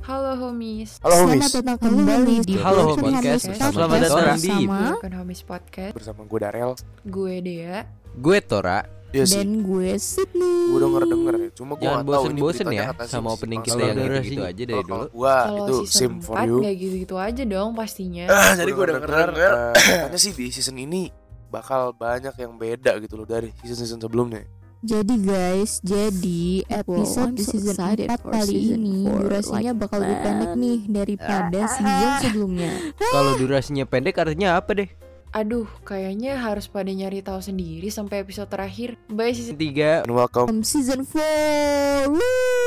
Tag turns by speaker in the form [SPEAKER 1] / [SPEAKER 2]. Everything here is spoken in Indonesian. [SPEAKER 1] Halo homies.
[SPEAKER 2] Halo
[SPEAKER 3] Selamat
[SPEAKER 2] homies
[SPEAKER 3] datang kembali di
[SPEAKER 4] Halo,
[SPEAKER 3] Broken
[SPEAKER 4] podcast.
[SPEAKER 3] Homies
[SPEAKER 1] Selamat
[SPEAKER 3] Podcast
[SPEAKER 4] datang di-
[SPEAKER 3] bersama
[SPEAKER 1] Broken Homies Podcast.
[SPEAKER 2] bersama gue Darel.
[SPEAKER 1] Gue Dea.
[SPEAKER 4] Gue Tora,
[SPEAKER 2] Iya
[SPEAKER 3] dan gue Sydney.
[SPEAKER 2] gue denger denger ya. Cuma gue
[SPEAKER 4] jangan
[SPEAKER 2] nggak tahu ini
[SPEAKER 4] bosen-bosen
[SPEAKER 2] beritanya
[SPEAKER 4] ya
[SPEAKER 2] kata
[SPEAKER 4] sama
[SPEAKER 2] sim-
[SPEAKER 4] opening
[SPEAKER 2] sim-
[SPEAKER 4] kita yang
[SPEAKER 2] sim-
[SPEAKER 4] gitu,
[SPEAKER 2] sim-
[SPEAKER 4] gitu aja dari
[SPEAKER 2] Kalau
[SPEAKER 4] dulu.
[SPEAKER 2] gua Ah, itu
[SPEAKER 1] Kalau
[SPEAKER 2] sim
[SPEAKER 1] season
[SPEAKER 2] for
[SPEAKER 1] 4
[SPEAKER 2] you.
[SPEAKER 1] nggak gitu. gitu-gitu aja dong pastinya.
[SPEAKER 2] Ah,
[SPEAKER 5] jadi gua denger
[SPEAKER 2] denger-denger, eh, Katanya sih di season ini bakal banyak yang beda gitu loh dari season-season sebelumnya.
[SPEAKER 3] Jadi guys, jadi episode
[SPEAKER 6] Wow, I'm
[SPEAKER 3] di
[SPEAKER 6] so
[SPEAKER 3] season
[SPEAKER 6] excited
[SPEAKER 3] 4
[SPEAKER 6] for
[SPEAKER 3] kali
[SPEAKER 6] season
[SPEAKER 3] ini
[SPEAKER 6] four,
[SPEAKER 3] durasinya
[SPEAKER 6] like,
[SPEAKER 3] bakal lebih
[SPEAKER 6] man.
[SPEAKER 3] pendek nih daripada season sebelumnya.
[SPEAKER 4] Kalau durasinya pendek artinya apa deh?
[SPEAKER 1] Aduh, kayaknya harus pada nyari tahu sendiri sampai episode terakhir. Bye season
[SPEAKER 4] Tiga.
[SPEAKER 2] And welcome
[SPEAKER 3] Um, season 4. Woo!